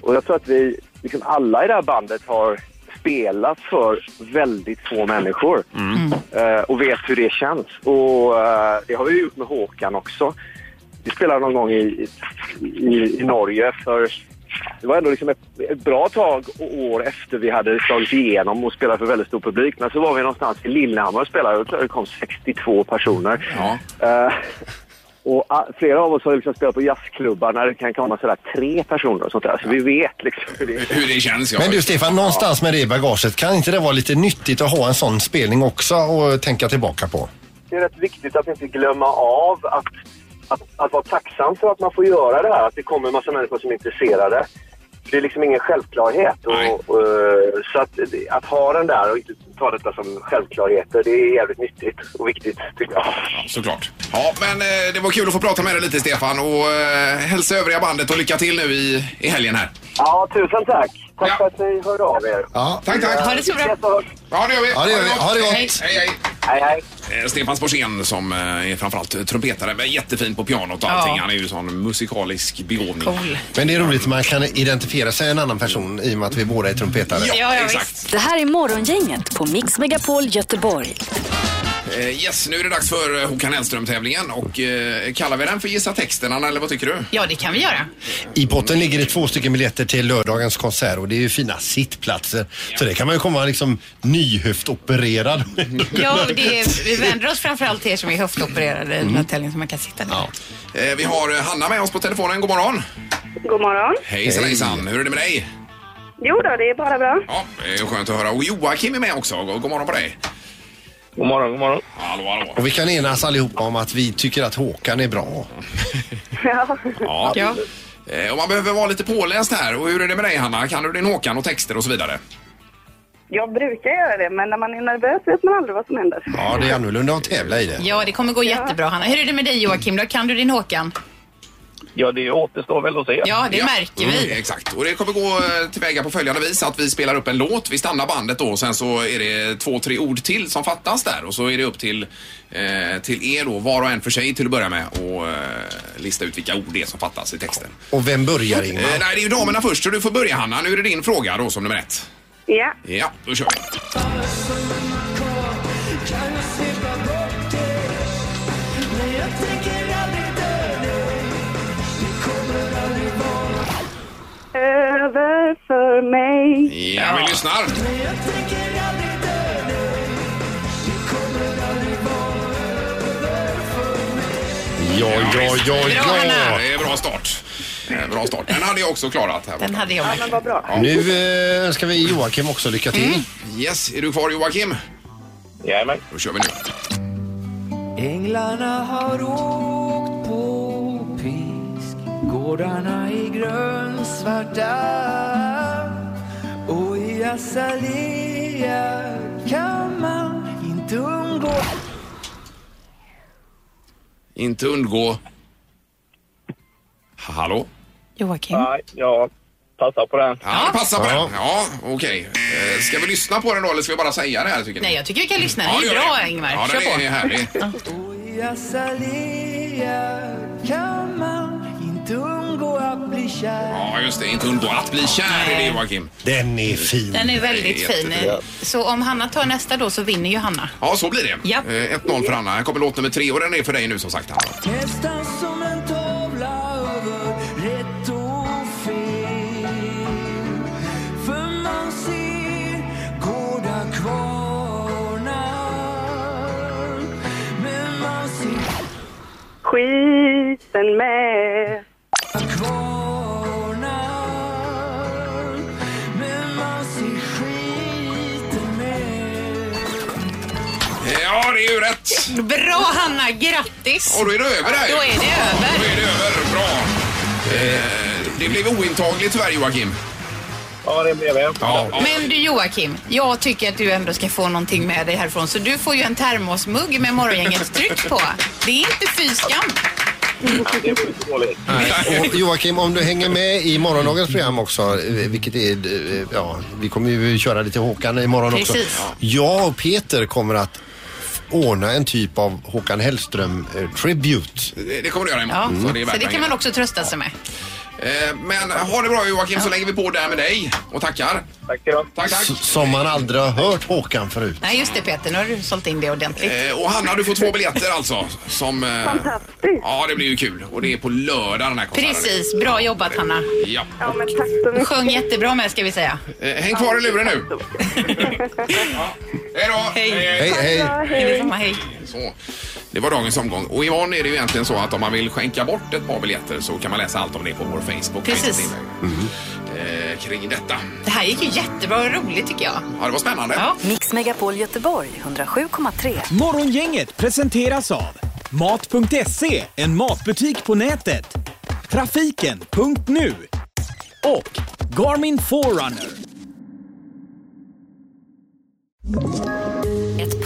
Speaker 9: Och jag tror att vi, liksom alla i det här bandet har spelat för väldigt få människor Eh, och vet hur det känns. Och eh, det har vi gjort med Håkan också. Vi spelade någon gång i, i, i Norge för det var ändå liksom ett, ett bra tag och år efter vi hade slagit igenom och spelat för väldigt stor publik. Men så var vi någonstans i Lillehammer och spelade och det kom 62 personer.
Speaker 3: Ja.
Speaker 9: Eh, och ah, flera av oss har liksom spelat på jazzklubbar när det kan komma sådär tre personer och sånt där. Så vi vet liksom hur det är.
Speaker 3: Hur det känns, ja.
Speaker 5: Men du Stefan, någonstans med det i bagaget, kan inte det vara lite nyttigt att ha en sån spelning också och tänka tillbaka på?
Speaker 9: Det är rätt viktigt att inte glömma av att, att, att vara tacksam för att man får göra det här. Att det kommer en massa människor som är intresserade. För Det är liksom ingen självklarhet.
Speaker 3: Nej.
Speaker 9: Och, och, eh, så att, att ha den där och inte ta detta som självklarheter, det är jävligt nyttigt och viktigt tycker jag.
Speaker 3: Såklart. Ja, men eh, det var kul att få prata med dig lite, Stefan. Och eh, hälsa övriga bandet och lycka till nu i, i helgen här.
Speaker 9: Ja, tusen tack! Tack
Speaker 3: Ja.
Speaker 9: för att ni hörde av er.
Speaker 5: Ja,
Speaker 3: Tack, tack.
Speaker 4: Ha det så bra.
Speaker 9: Ses och hörs.
Speaker 3: Ja, det gör vi.
Speaker 5: ja det gör vi. Ha det gott!
Speaker 3: Hej, hej.
Speaker 9: Hej, hej!
Speaker 3: Eh, Stefan Sporsén som eh, är framförallt trumpetare, men jättefin på pianot och allting.
Speaker 4: Ja.
Speaker 3: Han är ju sån musikalisk begåvning.
Speaker 4: Cool.
Speaker 5: Men det är roligt att man kan identifiera sig en annan person i och med att vi båda är trumpetare.
Speaker 3: Ja,
Speaker 4: Ja, ja,
Speaker 3: exakt.
Speaker 1: Det här är Morgongänget på Mix Megapol Göteborg.
Speaker 3: Eh, Yes, nu är det dags för eh, Håkan Hellström-tävlingen. Och eh, kallar vi den för Gissa texten, Anna, eller vad tycker du?
Speaker 4: Ja, det kan vi göra.
Speaker 5: I potten ligger det två stycken biljetter till lördagens konsert och det är ju fina sittplatser. Så det kan man ju komma liksom nyhöftopererad.
Speaker 4: Ja, det är, vi vänder oss framförallt till er som är höftopererade i den här tävlingen så man kan sitta ner.
Speaker 3: Eh, Vi har eh, Hanna med oss på telefonen. God morgon!
Speaker 10: God morgon.
Speaker 3: Hejsan, hejsan! Hur är det med dig?
Speaker 10: Jo då, det är bara bra.
Speaker 3: Ja, det är skönt att höra. Och Joakim är med också. God god morgon på dig!
Speaker 8: God morgon, god morgon.
Speaker 3: Hallå, hallå!
Speaker 5: Och vi kan enas allihopa om att vi tycker att Håkan är bra.
Speaker 10: Ja.
Speaker 3: Ja.
Speaker 4: Ja.
Speaker 3: Eh, Och man behöver vara lite påläst här. Och hur är det med dig, Hanna? Kan du din Håkan och texter och så vidare?
Speaker 10: Jag brukar göra det, men när man är nervös vet man aldrig vad som händer.
Speaker 5: Ja, det är annorlunda att tävla i det.
Speaker 4: Ja, det kommer gå jättebra Hanna. Hur är det med dig Joakim då? Kan du din Håkan?
Speaker 11: Ja, det återstår väl att se.
Speaker 3: Mm, exakt. Och det kommer gå eh, tillväga på följande vis att vi spelar upp en låt, vi stannar bandet då och sen så är det två, tre ord till som fattas där och så är det upp till, eh, till er då, var och en för sig till att börja med och eh, lista ut vilka ord det är som fattas i texten.
Speaker 5: Och vem börjar
Speaker 3: Eh,
Speaker 5: Ingmar?
Speaker 3: nej, det är ju damerna först så du får börja Hanna. Nu är det din fråga då som nummer ett.
Speaker 10: Ja.
Speaker 3: Ja, då kör vi.
Speaker 10: Över för mig.
Speaker 3: Ja, vi lyssnar.
Speaker 5: Ja, ja, ja,
Speaker 3: Bra,
Speaker 5: ja.
Speaker 3: Hanna. Det är bra start. Eh, Bra start. Den hade jag också klarat här.
Speaker 4: Den hade jag med.
Speaker 5: Nu eh, ska vi Joakim också lycka till.
Speaker 3: Yes, är du kvar Joakim?
Speaker 11: Jajamän.
Speaker 3: Då kör vi nu.
Speaker 12: Änglarna har åkt på pisk Gårdarna i grönsvarta Och i azalea kan man inte undgå
Speaker 3: Inte undgå... Hallå?
Speaker 4: Joakim?
Speaker 11: Nej, jag passar på den.
Speaker 3: Ja, passa på den. Ja, okej. Eh, Ska vi lyssna på den då eller ska vi bara säga det här tycker ni?
Speaker 4: Nej, jag tycker vi kan lyssna.
Speaker 3: Ja,
Speaker 4: Det
Speaker 3: det
Speaker 4: är
Speaker 3: gör
Speaker 4: bra,
Speaker 3: vi.
Speaker 4: Ingvar.
Speaker 3: Ja,
Speaker 4: Kör
Speaker 3: den är
Speaker 4: på.
Speaker 3: härlig.
Speaker 12: I azalea kan man inte undgå att bli kär
Speaker 3: Ja, just det. Inte undgå att bli kär i det Joakim.
Speaker 5: Den är fin.
Speaker 4: Den är väldigt fin.
Speaker 3: Jättebra.
Speaker 4: Så om Hanna tar nästa då så vinner ju Hanna.
Speaker 3: Ja, så blir det.
Speaker 4: Ja.
Speaker 3: Eh, 1-0 för Anna. Här kommer låt nummer tre och den är för dig nu som sagt. Anna.
Speaker 12: Nästan som en tavla över rätt och fel För man ser goda kvarnar Men man ser
Speaker 10: Skiten med.
Speaker 12: kvarnar Men man ser skiten med
Speaker 3: Ja, det är ju rätt.
Speaker 4: Bra Hanna, grattis!
Speaker 3: Och då är det över där ju.
Speaker 4: Då är det över.
Speaker 3: Då är det över. Bra. Eh, Det blev ointagligt tyvärr Joakim.
Speaker 11: Ja, det blev jag.
Speaker 3: Ja, ja.
Speaker 4: Men du Joakim, jag tycker att du ändå ska få någonting med dig härifrån. Så du får ju en termosmugg med morgongängets tryck på. Det är inte fy skam.
Speaker 11: Det var inte dåligt.
Speaker 5: Och Joakim, om du hänger med i morgondagens program också, eh, vilket är, eh, ja, vi kommer ju köra lite Håkan imorgon
Speaker 12: Precis.
Speaker 5: också. Jag och Peter kommer att f- ordna en typ av Håkan eh, Hellström-tribute.
Speaker 3: Det det kommer du göra
Speaker 4: Ja,
Speaker 3: imorgon. Mm. Så det är värt
Speaker 4: så det kan man också trösta sig med.
Speaker 3: pengarna. Eh, Men ha det bra Joakim så lägger vi på där med dig och tackar.
Speaker 11: Tack ska du ha.
Speaker 3: Tack, tack.
Speaker 5: Som man aldrig har hört Håkan förut.
Speaker 4: Nej, just det Peter. Nu har du sålt in det ordentligt.
Speaker 3: Eh, Och Hanna, du får två biljetter alltså. Som, eh, Fantastiskt. Ja, det blir ju kul. Och det är på lördag den här konserten.
Speaker 4: Precis. Bra jobbat Hanna.
Speaker 3: Ja.
Speaker 10: Ja, men tack så
Speaker 4: Du sjöng jättebra med ska vi säga.
Speaker 3: Eh, Häng kvar i luren nu. Hej då!
Speaker 5: Hej, hej.
Speaker 4: Detsamma, hej.
Speaker 3: Så, det var dagens omgång. Och imorgon är det ju egentligen så att om man vill skänka bort ett par biljetter så kan man läsa allt om det på vår Facebook.
Speaker 4: Precis.
Speaker 3: Eh, kring detta.
Speaker 4: Det här gick ju jättebra och roligt tycker jag.
Speaker 3: Ja, det var spännande.
Speaker 1: Mix Megapol Göteborg 107,3.
Speaker 2: Morgongänget presenteras av Mat.se, en matbutik på nätet. Trafiken.nu och Garmin Forerunner.
Speaker 13: Ett